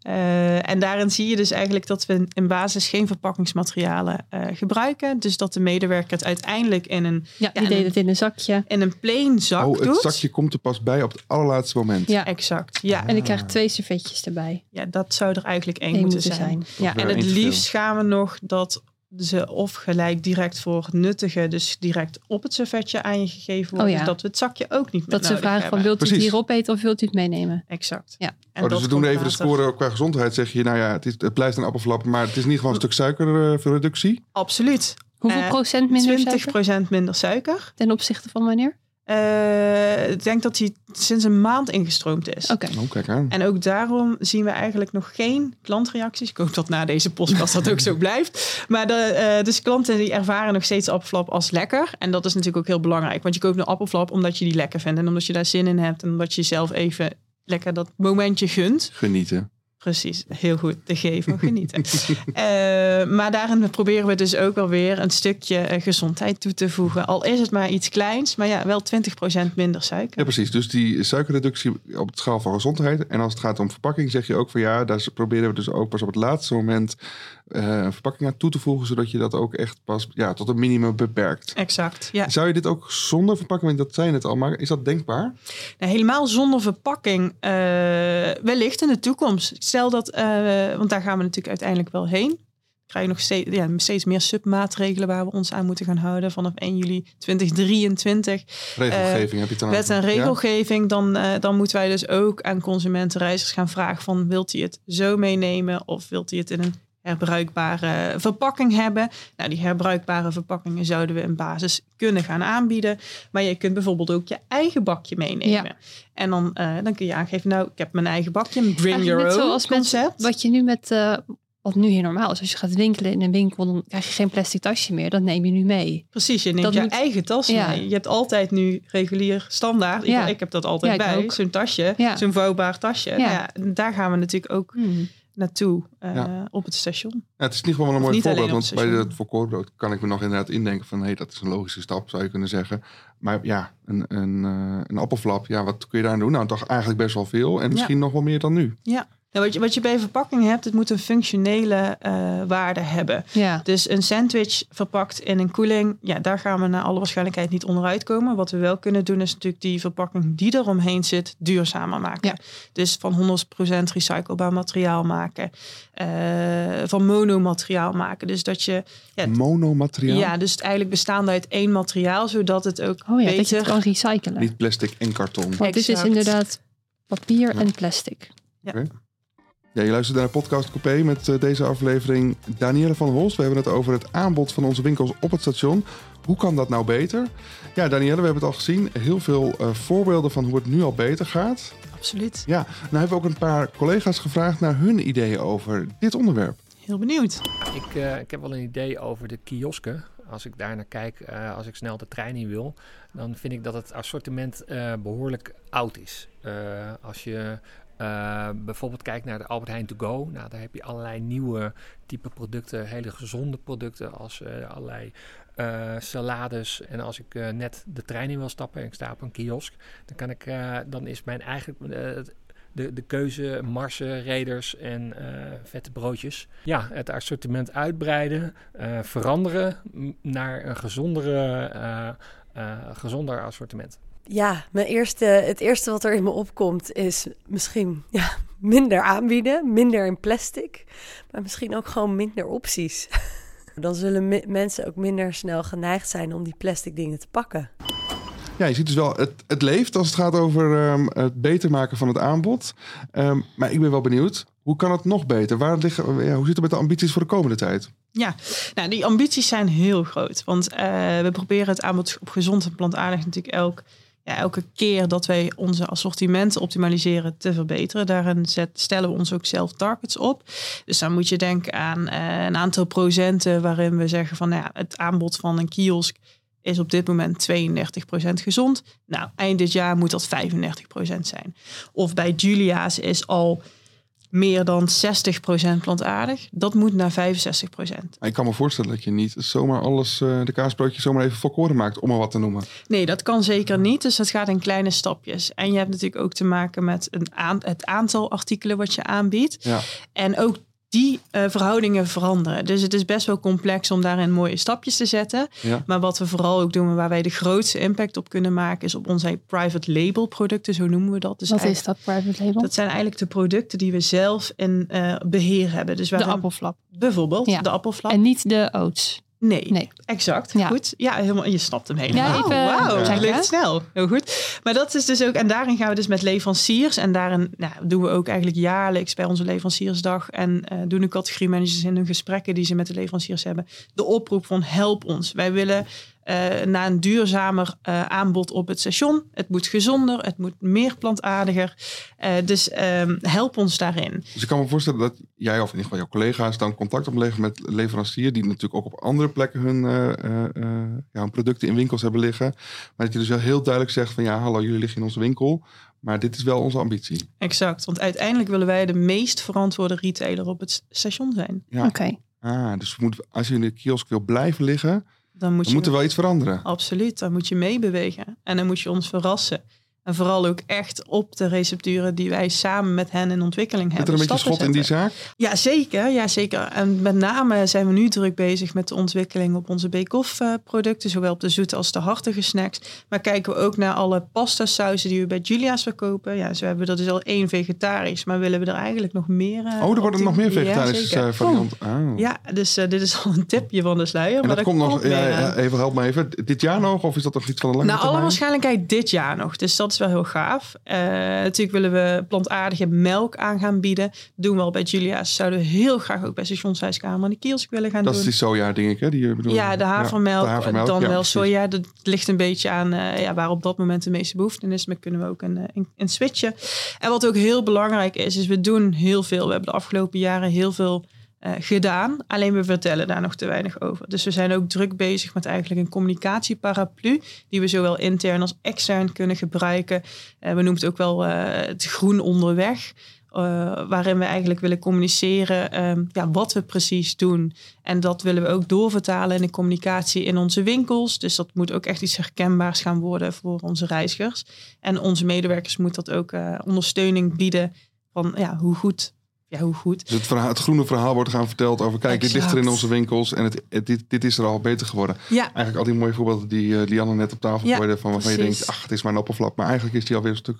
Speaker 3: Eh, en daarin zie je dus eigenlijk dat we in basis geen verpakkingsmaterialen eh, gebruiken. Dus dat de medewerker het uiteindelijk in een,
Speaker 6: Ja, die
Speaker 3: en-
Speaker 6: deed het in een zakje.
Speaker 3: in een plain zak
Speaker 1: oh, het
Speaker 3: doet.
Speaker 1: zakje komt er pas bij op het allerlaatste moment.
Speaker 6: Ja.
Speaker 3: Exact. Ja,
Speaker 6: En ik
Speaker 1: Ah.
Speaker 6: krijg twee servetjes erbij.
Speaker 3: ja, dat zou er eigenlijk één
Speaker 6: Eén
Speaker 3: moeten zijn.
Speaker 6: Ja.
Speaker 1: Ja.
Speaker 3: En het
Speaker 1: Eentje veel.
Speaker 3: liefst gaan we nog dat ze of gelijk direct voor het nuttige, dus direct op het servetje aan je gegeven wordt,
Speaker 6: Oh ja.
Speaker 3: dus dat we het zakje ook niet meer
Speaker 6: Dat ze
Speaker 3: nodig
Speaker 6: vragen
Speaker 3: hebben.
Speaker 6: van wilt u het
Speaker 1: Precies.
Speaker 6: hier opeten of wilt u het meenemen?
Speaker 3: Exact.
Speaker 6: Ja.
Speaker 3: En
Speaker 1: oh, dus
Speaker 3: dat
Speaker 1: we doen
Speaker 3: komt
Speaker 1: even de
Speaker 3: later.
Speaker 1: score qua gezondheid. Zeg je, nou ja, het, is, het blijft een appelflap, maar het is niet gewoon een stuk suikerreductie.
Speaker 3: Absoluut.
Speaker 6: Hoeveel
Speaker 3: Eh,
Speaker 6: procent minder suiker
Speaker 3: 20% minder suiker.
Speaker 6: ten opzichte van wanneer?
Speaker 3: Eh, ik denk dat die sinds een maand ingestroomd is.
Speaker 6: Oké.
Speaker 1: Oh, kijk aan.
Speaker 3: En ook daarom zien we eigenlijk nog geen klantreacties. Ik hoop dat na deze podcast dat ook zo blijft. Maar de, eh, dus klanten die ervaren nog steeds appelflap als lekker. En dat is natuurlijk ook heel belangrijk. Want je koopt een appelflap omdat je die lekker vindt. En omdat je daar zin in hebt. En omdat je zelf even lekker dat momentje gunt.
Speaker 1: Genieten.
Speaker 3: Precies, heel goed. De geven genieten. (laughs) Eh, maar daarin proberen we dus ook wel weer een stukje eh, gezondheid toe te voegen. Al is het maar iets kleins, maar ja, wel 20% minder
Speaker 1: Ja,
Speaker 3: suiker.
Speaker 1: precies. Dus die suikerreductie op het schaal van gezondheid. En als het gaat om verpakking, zeg je ook van ja, daar proberen we dus ook pas op het laatste moment eh, een verpakking aan toe te voegen, zodat je dat ook echt pas ja, tot een minimum beperkt.
Speaker 3: Exact. Ja.
Speaker 1: Zou je dit ook zonder verpakking, want dat zijn het al, maar is dat denkbaar?
Speaker 3: Nou, helemaal zonder verpakking. eh, wellicht in de toekomst. Stel dat, eh, want daar gaan we natuurlijk uiteindelijk wel heen. Krijg je nog steeds, ja, steeds meer submaatregelen waar we ons aan moeten gaan houden vanaf 1 juli 2023.
Speaker 1: Regelgeving heb je het dan
Speaker 3: Eh, wet en
Speaker 1: over? Ja?
Speaker 3: regelgeving, dan, eh, dan moeten wij dus ook aan consumenten, reizigers gaan vragen van wilt hij het zo meenemen of wilt hij het in een herbruikbare verpakking hebben. Nou, die herbruikbare verpakkingen zouden we in basis kunnen gaan aanbieden. Maar je kunt bijvoorbeeld ook je eigen bakje meenemen.
Speaker 6: Ja.
Speaker 3: En dan, eh, dan kun je aangeven, nou, ik heb mijn eigen bakje, een bring
Speaker 6: Eigenlijk
Speaker 3: your
Speaker 6: net
Speaker 3: own
Speaker 6: zoals met-
Speaker 3: concept.
Speaker 6: Wat je nu met, eh, wat nu heel normaal is, als je gaat winkelen in een winkel, dan krijg je geen plastic tasje meer. Dat neem je nu mee.
Speaker 3: Precies, je neemt
Speaker 6: Dat
Speaker 3: je
Speaker 6: moet-
Speaker 3: eigen tas
Speaker 6: ja.
Speaker 3: mee. Je hebt altijd nu regulier standaard.
Speaker 6: Ja.
Speaker 3: Ik, ik heb dat altijd
Speaker 6: Ja, ik
Speaker 3: bij.
Speaker 6: ook.
Speaker 3: Zo'n tasje,
Speaker 6: Ja.
Speaker 3: zo'n vouwbaar tasje.
Speaker 6: Ja.
Speaker 3: Nou Ja. daar gaan we natuurlijk ook naartoe eh,
Speaker 1: Ja.
Speaker 3: op het station.
Speaker 1: Ja, het is niet gewoon een mooi
Speaker 3: niet alleen
Speaker 1: voorbeeld,
Speaker 3: op
Speaker 1: want bij
Speaker 3: het station.
Speaker 1: dat volkorenbrood kan ik me nog inderdaad indenken van... hé, dat is een logische stap, zou je kunnen zeggen. Maar ja, een, een, eh, een appelflap, ja, wat kun je daaraan doen? Nou, toch eigenlijk best wel veel en misschien nog wel meer dan nu.
Speaker 3: Nou, wat, je, wat je bij verpakking hebt, het moet een functionele eh, waarde hebben.
Speaker 6: Ja.
Speaker 3: Dus een sandwich verpakt in een koeling, ja, daar gaan we naar alle waarschijnlijkheid niet onderuit komen. Wat we wel kunnen doen, is natuurlijk die verpakking die eromheen zit, duurzamer maken.
Speaker 6: Ja.
Speaker 3: Dus van 100% recyclebaar materiaal maken, eh, van monomateriaal maken. Dus dat je, ja, het-
Speaker 1: Monomateriaal,
Speaker 3: ja, dus het eigenlijk bestaande uit één materiaal, zodat het ook
Speaker 6: Oh ja, dat je
Speaker 3: beter
Speaker 6: het kan recyclen.
Speaker 1: niet plastic en karton.
Speaker 6: Want dit is
Speaker 3: Exact. Dus
Speaker 6: inderdaad papier
Speaker 1: Ja.
Speaker 6: en plastic.
Speaker 1: Ja, je luistert naar de podcast Coupé met eh, deze aflevering Danielle van Holst. We hebben het over het aanbod van onze winkels op het station. Hoe kan dat nou beter? Ja, Danielle, we hebben het al gezien. Heel veel eh, voorbeelden van hoe het nu al beter gaat.
Speaker 3: Absoluut,
Speaker 1: Ja, nou hebben we ook een paar collega's gevraagd naar hun ideeën over dit onderwerp.
Speaker 3: heel benieuwd.
Speaker 7: Ik, eh, ik heb wel een idee over de kiosken. Als ik daar naar kijk, eh, als ik snel de trein in wil, dan vind ik dat het assortiment eh, behoorlijk oud is. Eh, als je eh, bijvoorbeeld kijkt naar de Albert Heijn To Go, nou, daar heb je allerlei nieuwe type producten, hele gezonde producten, als eh, allerlei eh, salades. En als ik eh, net de trein in wil stappen en ik sta op een kiosk, dan, kan ik, eh, dan is mijn eigen. eh, de, de keuze marsen, reders en eh, vette broodjes. Ja, het assortiment uitbreiden, eh, veranderen m- naar een gezondere, eh, eh, gezonder assortiment.
Speaker 8: Ja, mijn eerste, het eerste wat er in me opkomt is misschien (laughs) ja, minder aanbieden, minder in plastic, maar misschien ook gewoon minder opties. (laughs) Dan zullen me- mensen ook minder snel geneigd zijn om die plastic dingen te pakken.
Speaker 1: Ja, je ziet dus wel, het, het leeft als het gaat over ehm, het beter maken van het aanbod. Ehm, maar ik ben wel benieuwd, hoe kan het nog beter? Waar liggen, ja, hoe zit het met de ambities voor de komende tijd?
Speaker 3: Ja, nou, die ambities zijn heel groot. Want eh, we proberen het aanbod op gezond en plantaardig natuurlijk elk, ja, elke keer dat wij onze assortimenten optimaliseren te verbeteren. Daarin zet, stellen we ons ook zelf targets op. Dus dan moet je denken aan eh, een aantal procenten waarin we zeggen van nou ja, het aanbod van een kiosk is op dit moment 32% gezond. Nou, eind dit jaar moet dat 35% zijn. Of bij Julia's is al meer dan 60% plantaardig. Dat moet naar 65%.
Speaker 1: Ik kan me voorstellen dat je niet zomaar alles, eh, de kaasbroodjes zomaar even volkoren maakt, om maar wat te noemen.
Speaker 3: Nee, dat kan zeker niet. Dus dat gaat in kleine stapjes. En je hebt natuurlijk ook te maken met een aan, het aantal artikelen wat je aanbiedt.
Speaker 1: Ja.
Speaker 3: En ook die eh, verhoudingen veranderen. Dus het is best wel complex om daarin mooie stapjes te zetten.
Speaker 1: Ja.
Speaker 3: Maar wat we vooral ook doen, en waar wij de grootste impact op kunnen maken, is op onze private label producten, zo noemen we dat. Dus
Speaker 6: Wat is
Speaker 3: eigenlijk-
Speaker 6: dat private label?
Speaker 3: Dat zijn eigenlijk de producten die we zelf in eh, beheer hebben. Dus
Speaker 6: de
Speaker 3: waarin-
Speaker 6: appelflap.
Speaker 3: Bijvoorbeeld
Speaker 6: Ja.
Speaker 3: de appelflap.
Speaker 6: En niet de oats.
Speaker 3: nee,
Speaker 6: Nee.
Speaker 3: Exact,
Speaker 6: Ja.
Speaker 3: goed. Ja, helemaal, je snapt hem helemaal.
Speaker 6: Ja, even
Speaker 3: Wauw,
Speaker 6: checken.
Speaker 3: het lukt snel. Heel goed. Maar dat is dus ook, en daarin gaan we dus met leveranciers. En daarin nou, doen we ook eigenlijk jaarlijks bij onze leveranciersdag. En eh, doen de categoriemanagers in hun gesprekken die ze met de leveranciers hebben. De oproep van help ons. Wij willen eh, naar een duurzamer eh, aanbod op het station. Het moet gezonder, het moet meer plantaardiger. Eh, dus ehm, help ons daarin.
Speaker 1: Dus ik kan me voorstellen dat jij of in ieder geval jouw collega's dan contact opleggen met leveranciers die natuurlijk ook op andere plekken hun, eh, eh, eh, ja, hun producten in winkels hebben liggen. Maar dat je dus wel heel duidelijk zegt van ja, hallo, jullie liggen in onze winkel, maar dit is wel onze ambitie.
Speaker 3: Exact, want uiteindelijk willen wij de meest verantwoorde retailer op het station zijn.
Speaker 1: Ja.
Speaker 6: Oké.
Speaker 1: Ah, dus we moeten, als je in de kiosk wil blijven liggen,
Speaker 3: Dan moet
Speaker 1: dan
Speaker 3: je
Speaker 1: moet er wel iets veranderen.
Speaker 3: Absoluut, daar moet je mee bewegen. En dan moet je ons verrassen. En vooral ook echt op de recepturen die wij samen met hen in ontwikkeling
Speaker 1: Zit er
Speaker 3: hebben.
Speaker 1: een beetje schot
Speaker 3: stappen
Speaker 1: in die
Speaker 3: zetten.
Speaker 1: zaak?
Speaker 3: Ja, zeker. Ja, zeker. En met name zijn we nu druk bezig met de ontwikkeling op onze bake-off eh, producten. Zowel op de zoete als de hartige snacks. Maar kijken we ook naar alle pasta sauzen die we bij Julia's verkopen. Ja, zo hebben we er dus al één vegetarisch. Maar willen we er eigenlijk nog meer? eh,
Speaker 1: Oh, er
Speaker 3: op
Speaker 1: worden
Speaker 3: die
Speaker 1: nog meer
Speaker 3: manier? Ja,
Speaker 1: vegetarische
Speaker 3: zeker.
Speaker 1: eh, varianten. Ah.
Speaker 3: Ja, dus eh, dit is al een tipje van de sluier.
Speaker 1: En
Speaker 3: maar
Speaker 1: dat komt nog,
Speaker 3: meer
Speaker 1: ja,
Speaker 3: aan.
Speaker 1: ja, even help me even, dit jaar nog of is dat nog iets van een lange
Speaker 3: Nou, alle
Speaker 1: termijn?
Speaker 3: waarschijnlijkheid dit jaar nog. Dus dat is wel heel gaaf. Eh, natuurlijk willen we plantaardige melk aan gaan bieden. Doen we al bij Julia's. Zouden we heel graag ook bij Stationshuiskamer en de kiosk willen gaan
Speaker 1: Dat
Speaker 3: doen.
Speaker 1: is die soja, denk ik, hè? Die je bedoelt.
Speaker 3: ja, de havermelk,
Speaker 1: de havermelk,
Speaker 3: dan
Speaker 1: ja,
Speaker 3: wel
Speaker 1: precies.
Speaker 3: soja. Dat ligt een beetje aan eh, ja, waar op dat moment de meeste behoefte in is. Maar kunnen we ook een, eh, een, een switchen. En wat ook heel belangrijk is, is we doen heel veel. We hebben de afgelopen jaren heel veel eh, gedaan. Alleen we vertellen daar nog te weinig over. Dus we zijn ook druk bezig met eigenlijk een communicatieparaplu. Die we zowel intern als extern kunnen gebruiken. Eh, we noemen het ook wel eh, het groen onderweg. eh, waarin we eigenlijk willen communiceren ehm, ja, wat we precies doen. En dat willen we ook doorvertalen in de communicatie in onze winkels. Dus dat moet ook echt iets herkenbaars gaan worden voor onze reizigers. En onze medewerkers moet dat ook eh, ondersteuning bieden van ja, hoe goed. Ja, hoe goed.
Speaker 1: Dus het, verhaal, het groene verhaal wordt gaan verteld over... kijk, dit ligt er in
Speaker 3: Exact.
Speaker 1: onze winkels en het, het- dit, dit is er al beter geworden.
Speaker 3: Ja,
Speaker 1: Eigenlijk al die mooie voorbeelden die eh, Lianne net op tafel
Speaker 3: Ja,
Speaker 1: gooide... van waarvan je
Speaker 3: precies.
Speaker 1: denkt, ach, het is maar een appelflap. Maar eigenlijk is die alweer een stuk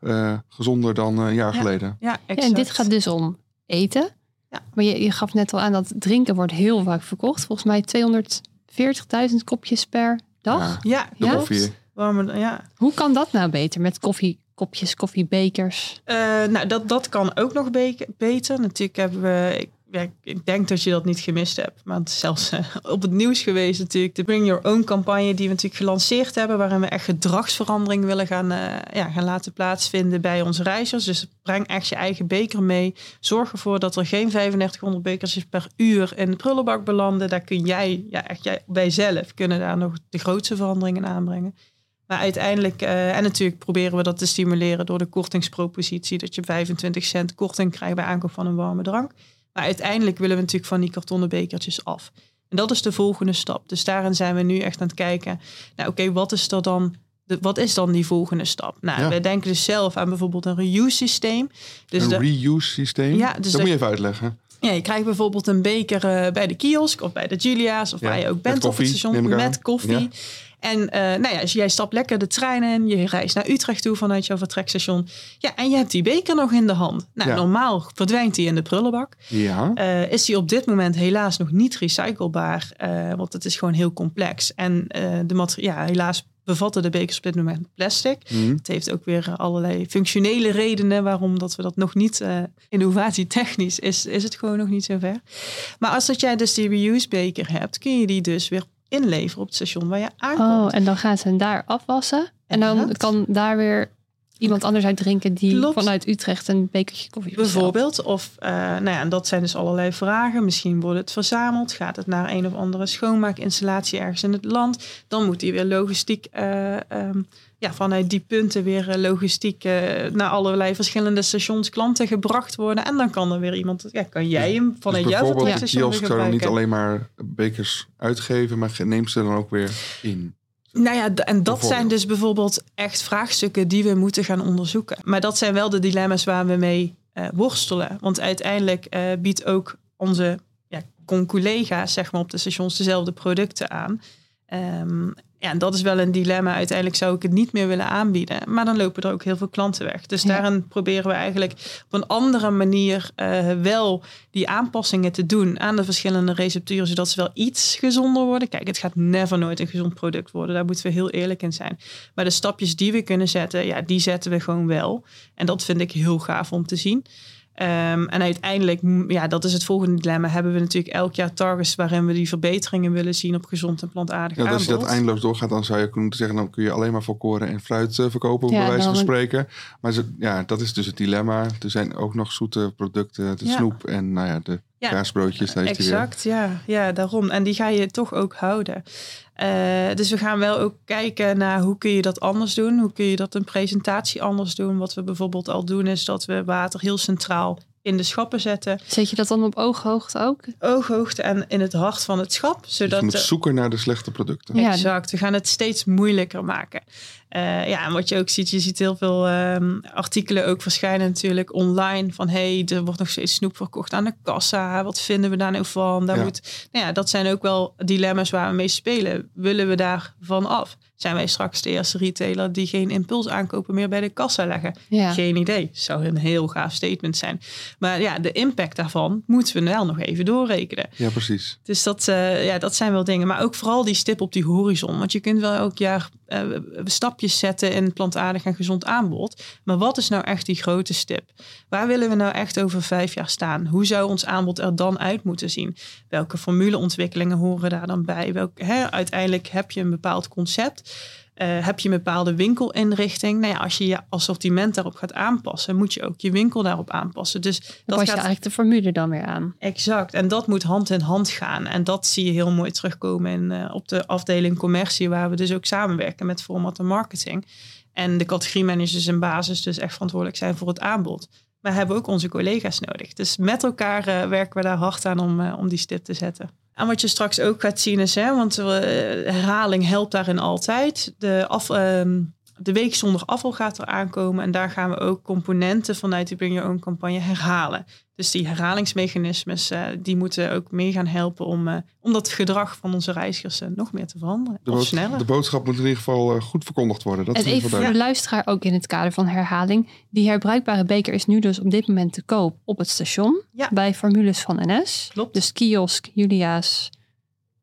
Speaker 1: eh, gezonder dan eh, een jaar
Speaker 3: Ja.
Speaker 1: geleden.
Speaker 3: ja, exact.
Speaker 6: Ja, en dit gaat dus om eten.
Speaker 3: Ja.
Speaker 6: Maar je, je gaf net al aan dat drinken wordt heel vaak verkocht. Volgens mij 240.000 kopjes per dag.
Speaker 1: Ja,
Speaker 3: Ja,
Speaker 1: de
Speaker 6: Ja.
Speaker 1: koffie.
Speaker 3: warme- ja.
Speaker 6: Hoe kan dat nou beter met koffiekopjes, koffiebekers?
Speaker 3: Eh, nou, dat, dat kan ook nog be- beter. Natuurlijk hebben we. Ik, ja, ik denk dat je dat niet gemist hebt. Maar het is zelfs eh, (laughs) op het nieuws geweest natuurlijk. De Bring Your Own campagne die we natuurlijk gelanceerd hebben. Waarin we echt gedragsverandering willen gaan, eh, ja, gaan laten plaatsvinden bij onze reizigers. Dus breng echt je eigen beker mee. Zorg ervoor dat er geen 3500 bekertjes per uur in de prullenbak belanden. Daar kun jij, ja, echt jij, wij zelf, kunnen daar nog de grootste veranderingen aanbrengen. Maar uiteindelijk, eh, en natuurlijk proberen we dat te stimuleren door de kortingspropositie, dat je 25 cent korting krijgt bij aankoop van een warme drank. Maar uiteindelijk willen we natuurlijk van die kartonnen bekertjes af. En dat is de volgende stap. Dus daarin zijn we nu echt aan het kijken, nou oké, wat is er dan? de- Wat is dan die volgende stap? Nou,
Speaker 1: Ja.
Speaker 3: we denken dus zelf aan bijvoorbeeld een reuse systeem. Dus
Speaker 1: een
Speaker 3: de-
Speaker 1: reuse systeem.
Speaker 3: Ja, dus
Speaker 1: dat,
Speaker 3: dat-
Speaker 1: moet je even uitleggen.
Speaker 3: ja, je krijgt bijvoorbeeld een beker eh, bij de kiosk of bij de Julia's of
Speaker 1: Ja,
Speaker 3: waar je ook
Speaker 1: met
Speaker 3: bent op
Speaker 1: koffie,
Speaker 3: het
Speaker 1: neem
Speaker 3: station
Speaker 1: ik aan.
Speaker 3: met koffie.
Speaker 1: Ja.
Speaker 3: En eh, nou ja, dus jij stapt lekker de trein in, je reist naar Utrecht toe vanuit jouw vertrekstation. Ja, en je hebt die beker nog in de hand. Nou,
Speaker 1: Ja.
Speaker 3: normaal verdwijnt die in de prullenbak.
Speaker 1: Ja.
Speaker 3: Eh, is die op dit moment helaas nog niet recyclebaar, eh, want het is gewoon heel complex. En eh, de materi- ja, helaas bevatten de bekers op dit moment plastic.
Speaker 1: Hm.
Speaker 3: Het heeft ook weer eh, allerlei functionele redenen waarom dat we dat nog niet, eh innovatie technisch is, is het gewoon nog niet zo ver. Maar als dat jij dus die reuse beker hebt, kun je die dus weer
Speaker 2: Oh,
Speaker 3: inleveren op het station waar je aankomt.
Speaker 6: Oh, en dan gaan ze hem daar afwassen. En dan
Speaker 3: Inderdaad.
Speaker 6: kan daar weer iemand anders uit drinken die
Speaker 3: Klopt.
Speaker 6: vanuit Utrecht een bekertje koffie bestelt.
Speaker 3: Bijvoorbeeld, of eh, nou ja, en dat zijn dus allerlei vragen. Misschien wordt het verzameld, gaat het naar een of andere schoonmaakinstallatie ergens in het land. Dan moet die weer logistiek, eh, ehm, ja, vanuit die punten weer eh, logistiek eh, naar allerlei verschillende stations klanten gebracht worden. En dan kan er weer iemand, ja, kan jij hem vanuit
Speaker 1: dus
Speaker 3: jouw
Speaker 1: bijvoorbeeld de
Speaker 3: vertrekstation weer
Speaker 1: kiosk zou dan niet
Speaker 3: gebruiken.
Speaker 1: alleen maar bekers uitgeven, maar ge- neemt ze dan ook weer in.
Speaker 3: Nou ja, d- en dat
Speaker 1: Bijvoorbeeld.
Speaker 3: zijn dus bijvoorbeeld echt vraagstukken die we moeten gaan onderzoeken. Maar dat zijn wel de dilemma's waar we mee eh, worstelen. Want uiteindelijk eh, biedt ook onze ja, con-collega's zeg maar, op de stations dezelfde producten aan. Ehm, ja, en dat is wel een dilemma. Uiteindelijk zou ik het niet meer willen aanbieden. Maar dan lopen er ook heel veel klanten weg. Dus
Speaker 6: Ja.
Speaker 3: daarin proberen we eigenlijk op een andere manier eh, wel die aanpassingen te doen aan de verschillende recepturen. Zodat ze wel iets gezonder worden. Kijk, het gaat never nooit een gezond product worden. Daar moeten we heel eerlijk in zijn. Maar de stapjes die we kunnen zetten, ja, die zetten we gewoon wel. En dat vind ik heel gaaf om te zien. Ehm, en uiteindelijk, mm, ja, dat is het volgende dilemma. Hebben we natuurlijk elk jaar targets waarin we die verbeteringen willen zien op gezond en plantaardig
Speaker 1: Ja, want Nou, als
Speaker 3: aanbod.
Speaker 1: je dat eindeloos doorgaat, dan zou je kunnen zeggen... dan kun je alleen maar volkoren en fruit eh, verkopen,
Speaker 6: Ja,
Speaker 1: bij wijze van
Speaker 6: dan-
Speaker 1: spreken. Maar ze- ja, dat is dus het dilemma. Er zijn ook nog zoete producten, de
Speaker 3: Ja.
Speaker 1: snoep en nou ja, de
Speaker 3: Ja,
Speaker 1: kaasbroodjes. Daar is die weer. Dus
Speaker 3: Exact, ja, ja, daarom. En die ga je toch ook houden. Eh, dus we gaan wel ook kijken naar hoe kun je dat anders doen. Hoe kun je dat een presentatie anders doen. Wat we bijvoorbeeld al doen is dat we water heel centraal in de schappen zetten.
Speaker 6: Zet je dat dan op ooghoogte ook?
Speaker 3: Ooghoogte en in het hart van het schap.
Speaker 1: Dus
Speaker 3: Zodat
Speaker 1: je moet
Speaker 3: de-
Speaker 1: zoeken naar de slechte producten.
Speaker 6: Ja.
Speaker 3: Exact, we gaan het steeds moeilijker maken. Eh, ja, en wat je ook ziet, je ziet heel veel ehm, artikelen ook verschijnen natuurlijk online. Van hé, hey, er wordt nog steeds snoep verkocht aan de kassa. Wat vinden we daar nou van? Daar
Speaker 1: Ja.
Speaker 3: moet, nou ja, dat zijn ook wel dilemma's waar we mee spelen. Willen we daar van af? Zijn wij straks de eerste retailer die geen impulsaankopen meer bij de kassa leggen?
Speaker 6: Ja.
Speaker 3: Geen idee. Zou een heel gaaf statement zijn. Maar ja, de impact daarvan moeten we wel nog even doorrekenen.
Speaker 1: Ja, precies.
Speaker 3: Dus dat, eh, ja, dat zijn wel dingen. Maar ook vooral die stip op die horizon. Want je kunt wel elk jaar eh, stapjes zetten in plantaardig en gezond aanbod. Maar wat is nou echt die grote stip? Waar willen we nou echt over vijf jaar staan? Hoe zou ons aanbod er dan uit moeten zien? Welke formuleontwikkelingen horen daar dan bij? Welk, hè, uiteindelijk heb je een bepaald concept. Eh, heb je een bepaalde winkelinrichting? Nou ja, als je je assortiment daarop gaat aanpassen, moet je ook je winkel daarop aanpassen. Dus
Speaker 6: Dan
Speaker 3: dat
Speaker 6: pas je
Speaker 3: gaat
Speaker 6: eigenlijk de formule dan weer aan.
Speaker 3: Exact. En dat moet hand in hand gaan. En dat zie je heel mooi terugkomen in, eh, op de afdeling commercie, waar we dus ook samenwerken met format en marketing. En de categoriemanagers in basis dus echt verantwoordelijk zijn voor het aanbod. Maar hebben ook onze collega's nodig. Dus met elkaar eh, werken we daar hard aan om, eh, om die stip te zetten. En wat je straks ook gaat zien is, hè, want eh, herhaling helpt daarin altijd. De, af, ehm, de week zonder afval gaat er aankomen. En daar gaan we ook componenten vanuit de Bring Your Own campagne herhalen. Dus die herhalingsmechanismes, eh, die moeten ook mee gaan helpen om, eh, om dat gedrag van onze reizigers eh, nog meer te veranderen.
Speaker 1: De,
Speaker 3: of
Speaker 1: bood-
Speaker 3: sneller.
Speaker 1: de boodschap moet in ieder geval eh, goed verkondigd worden. Dat
Speaker 6: en
Speaker 1: is in ieder
Speaker 6: even
Speaker 1: geval
Speaker 6: voor de
Speaker 1: duidelijk.
Speaker 6: luisteraar ook in het kader van herhaling. Die herbruikbare beker is nu dus op dit moment te koop op het station.
Speaker 3: Ja.
Speaker 6: Bij formules van NS.
Speaker 3: Klopt.
Speaker 6: Dus kiosk, Julia's en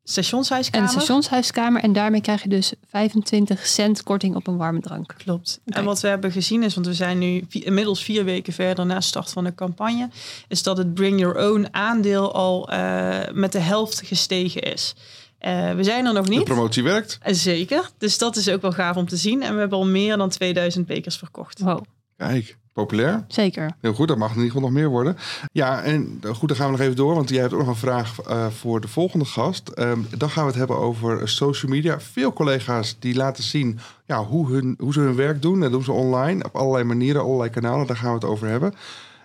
Speaker 3: Stationshuiskamer.
Speaker 6: de stationshuiskamer. En daarmee krijg je dus 25 cent korting op een warme drank.
Speaker 3: Klopt.
Speaker 6: Oké.
Speaker 3: En wat we hebben gezien is, want we zijn nu vi- inmiddels vier weken verder na start van de campagne, is dat het Bring Your Own aandeel al eh, met de helft gestegen is. Eh, we zijn er nog
Speaker 1: De
Speaker 3: niet.
Speaker 1: promotie werkt.
Speaker 3: Eh, Zeker. Dus dat is ook wel gaaf om te zien. En we hebben al meer dan 2000 bekers verkocht.
Speaker 6: Wow,
Speaker 1: Kijk, populair.
Speaker 6: zeker.
Speaker 1: Heel goed, dat mag in ieder geval nog meer worden. Ja, en eh, goed, dan gaan we nog even door, want jij hebt ook nog een vraag eh, voor de volgende gast. Ehm, dan gaan we het hebben over social media. Veel collega's die laten zien ja, hoe, hun, hoe ze hun werk doen. Dat doen ze online, op allerlei manieren, allerlei kanalen. Daar gaan we het over hebben.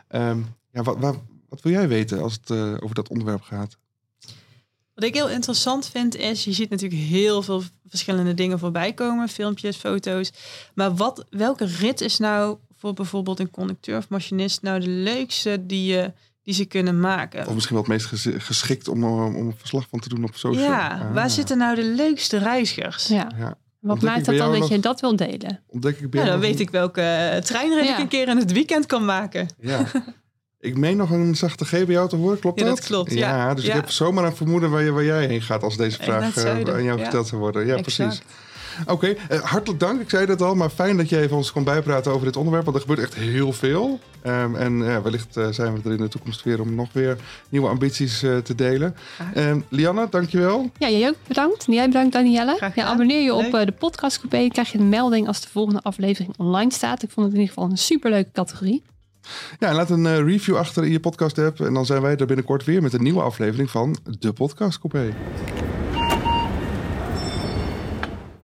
Speaker 1: Ehm, ja, wat, wat, wat wil jij weten als het eh, over dat onderwerp gaat?
Speaker 3: Wat ik heel interessant vind is, je ziet natuurlijk heel veel verschillende dingen voorbij komen. Filmpjes, foto's. Maar wat, welke rit is nou voor bijvoorbeeld een conducteur of machinist nou de leukste die, je, die ze kunnen maken?
Speaker 1: Of misschien wel het meest gez- geschikt om, eh, om een verslag van te doen op social.
Speaker 3: Ja,
Speaker 1: Ah.
Speaker 3: waar zitten nou de leukste reizigers?
Speaker 6: Ja.
Speaker 1: Ja.
Speaker 6: Wat maakt
Speaker 1: ik bij
Speaker 6: dat dan
Speaker 1: jou
Speaker 6: dat
Speaker 1: nog-
Speaker 6: je dat wil delen?
Speaker 1: Ontdek ik bij
Speaker 3: Nou,
Speaker 1: jou
Speaker 3: dan
Speaker 1: nog
Speaker 3: weet ik welke eh, treinrit ik
Speaker 6: Ja.
Speaker 3: een keer in het weekend kan maken.
Speaker 1: Ja. Ik meen nog een zachte G bij jou te horen, klopt
Speaker 3: Ja,
Speaker 1: dat?
Speaker 3: dat klopt, ja.
Speaker 1: dus
Speaker 3: Ja.
Speaker 1: ik heb zomaar een vermoeden waar, je, waar jij heen gaat als deze
Speaker 3: Eh,
Speaker 1: vraag
Speaker 3: dat zou
Speaker 1: eh,
Speaker 3: je-
Speaker 1: aan jou
Speaker 3: ja.
Speaker 1: gesteld zou worden. Ja,
Speaker 3: Exact.
Speaker 1: precies. Oké, eh, hartelijk dank. Ik zei dat al, maar fijn dat je even ons kon bijpraten over dit onderwerp, want er gebeurt echt heel veel. Ehm, en ja, wellicht eh, zijn we er in de toekomst weer om nog weer nieuwe ambities eh, te delen. Ehm Lianne, dankjewel.
Speaker 2: Ja, jij ook bedankt. En jij bedankt, Danielle.
Speaker 3: Graag
Speaker 2: Ja,
Speaker 3: gedaan.
Speaker 2: abonneer je op
Speaker 3: Leuk.
Speaker 2: eh, de podcast Coupé. Dan krijg je een melding als de volgende aflevering online staat. Ik vond het in ieder geval een superleuke categorie.
Speaker 1: Ja, en laat een eh, review achter in je podcast app en dan zijn wij er binnenkort weer met een nieuwe aflevering van De Podcast Coupé.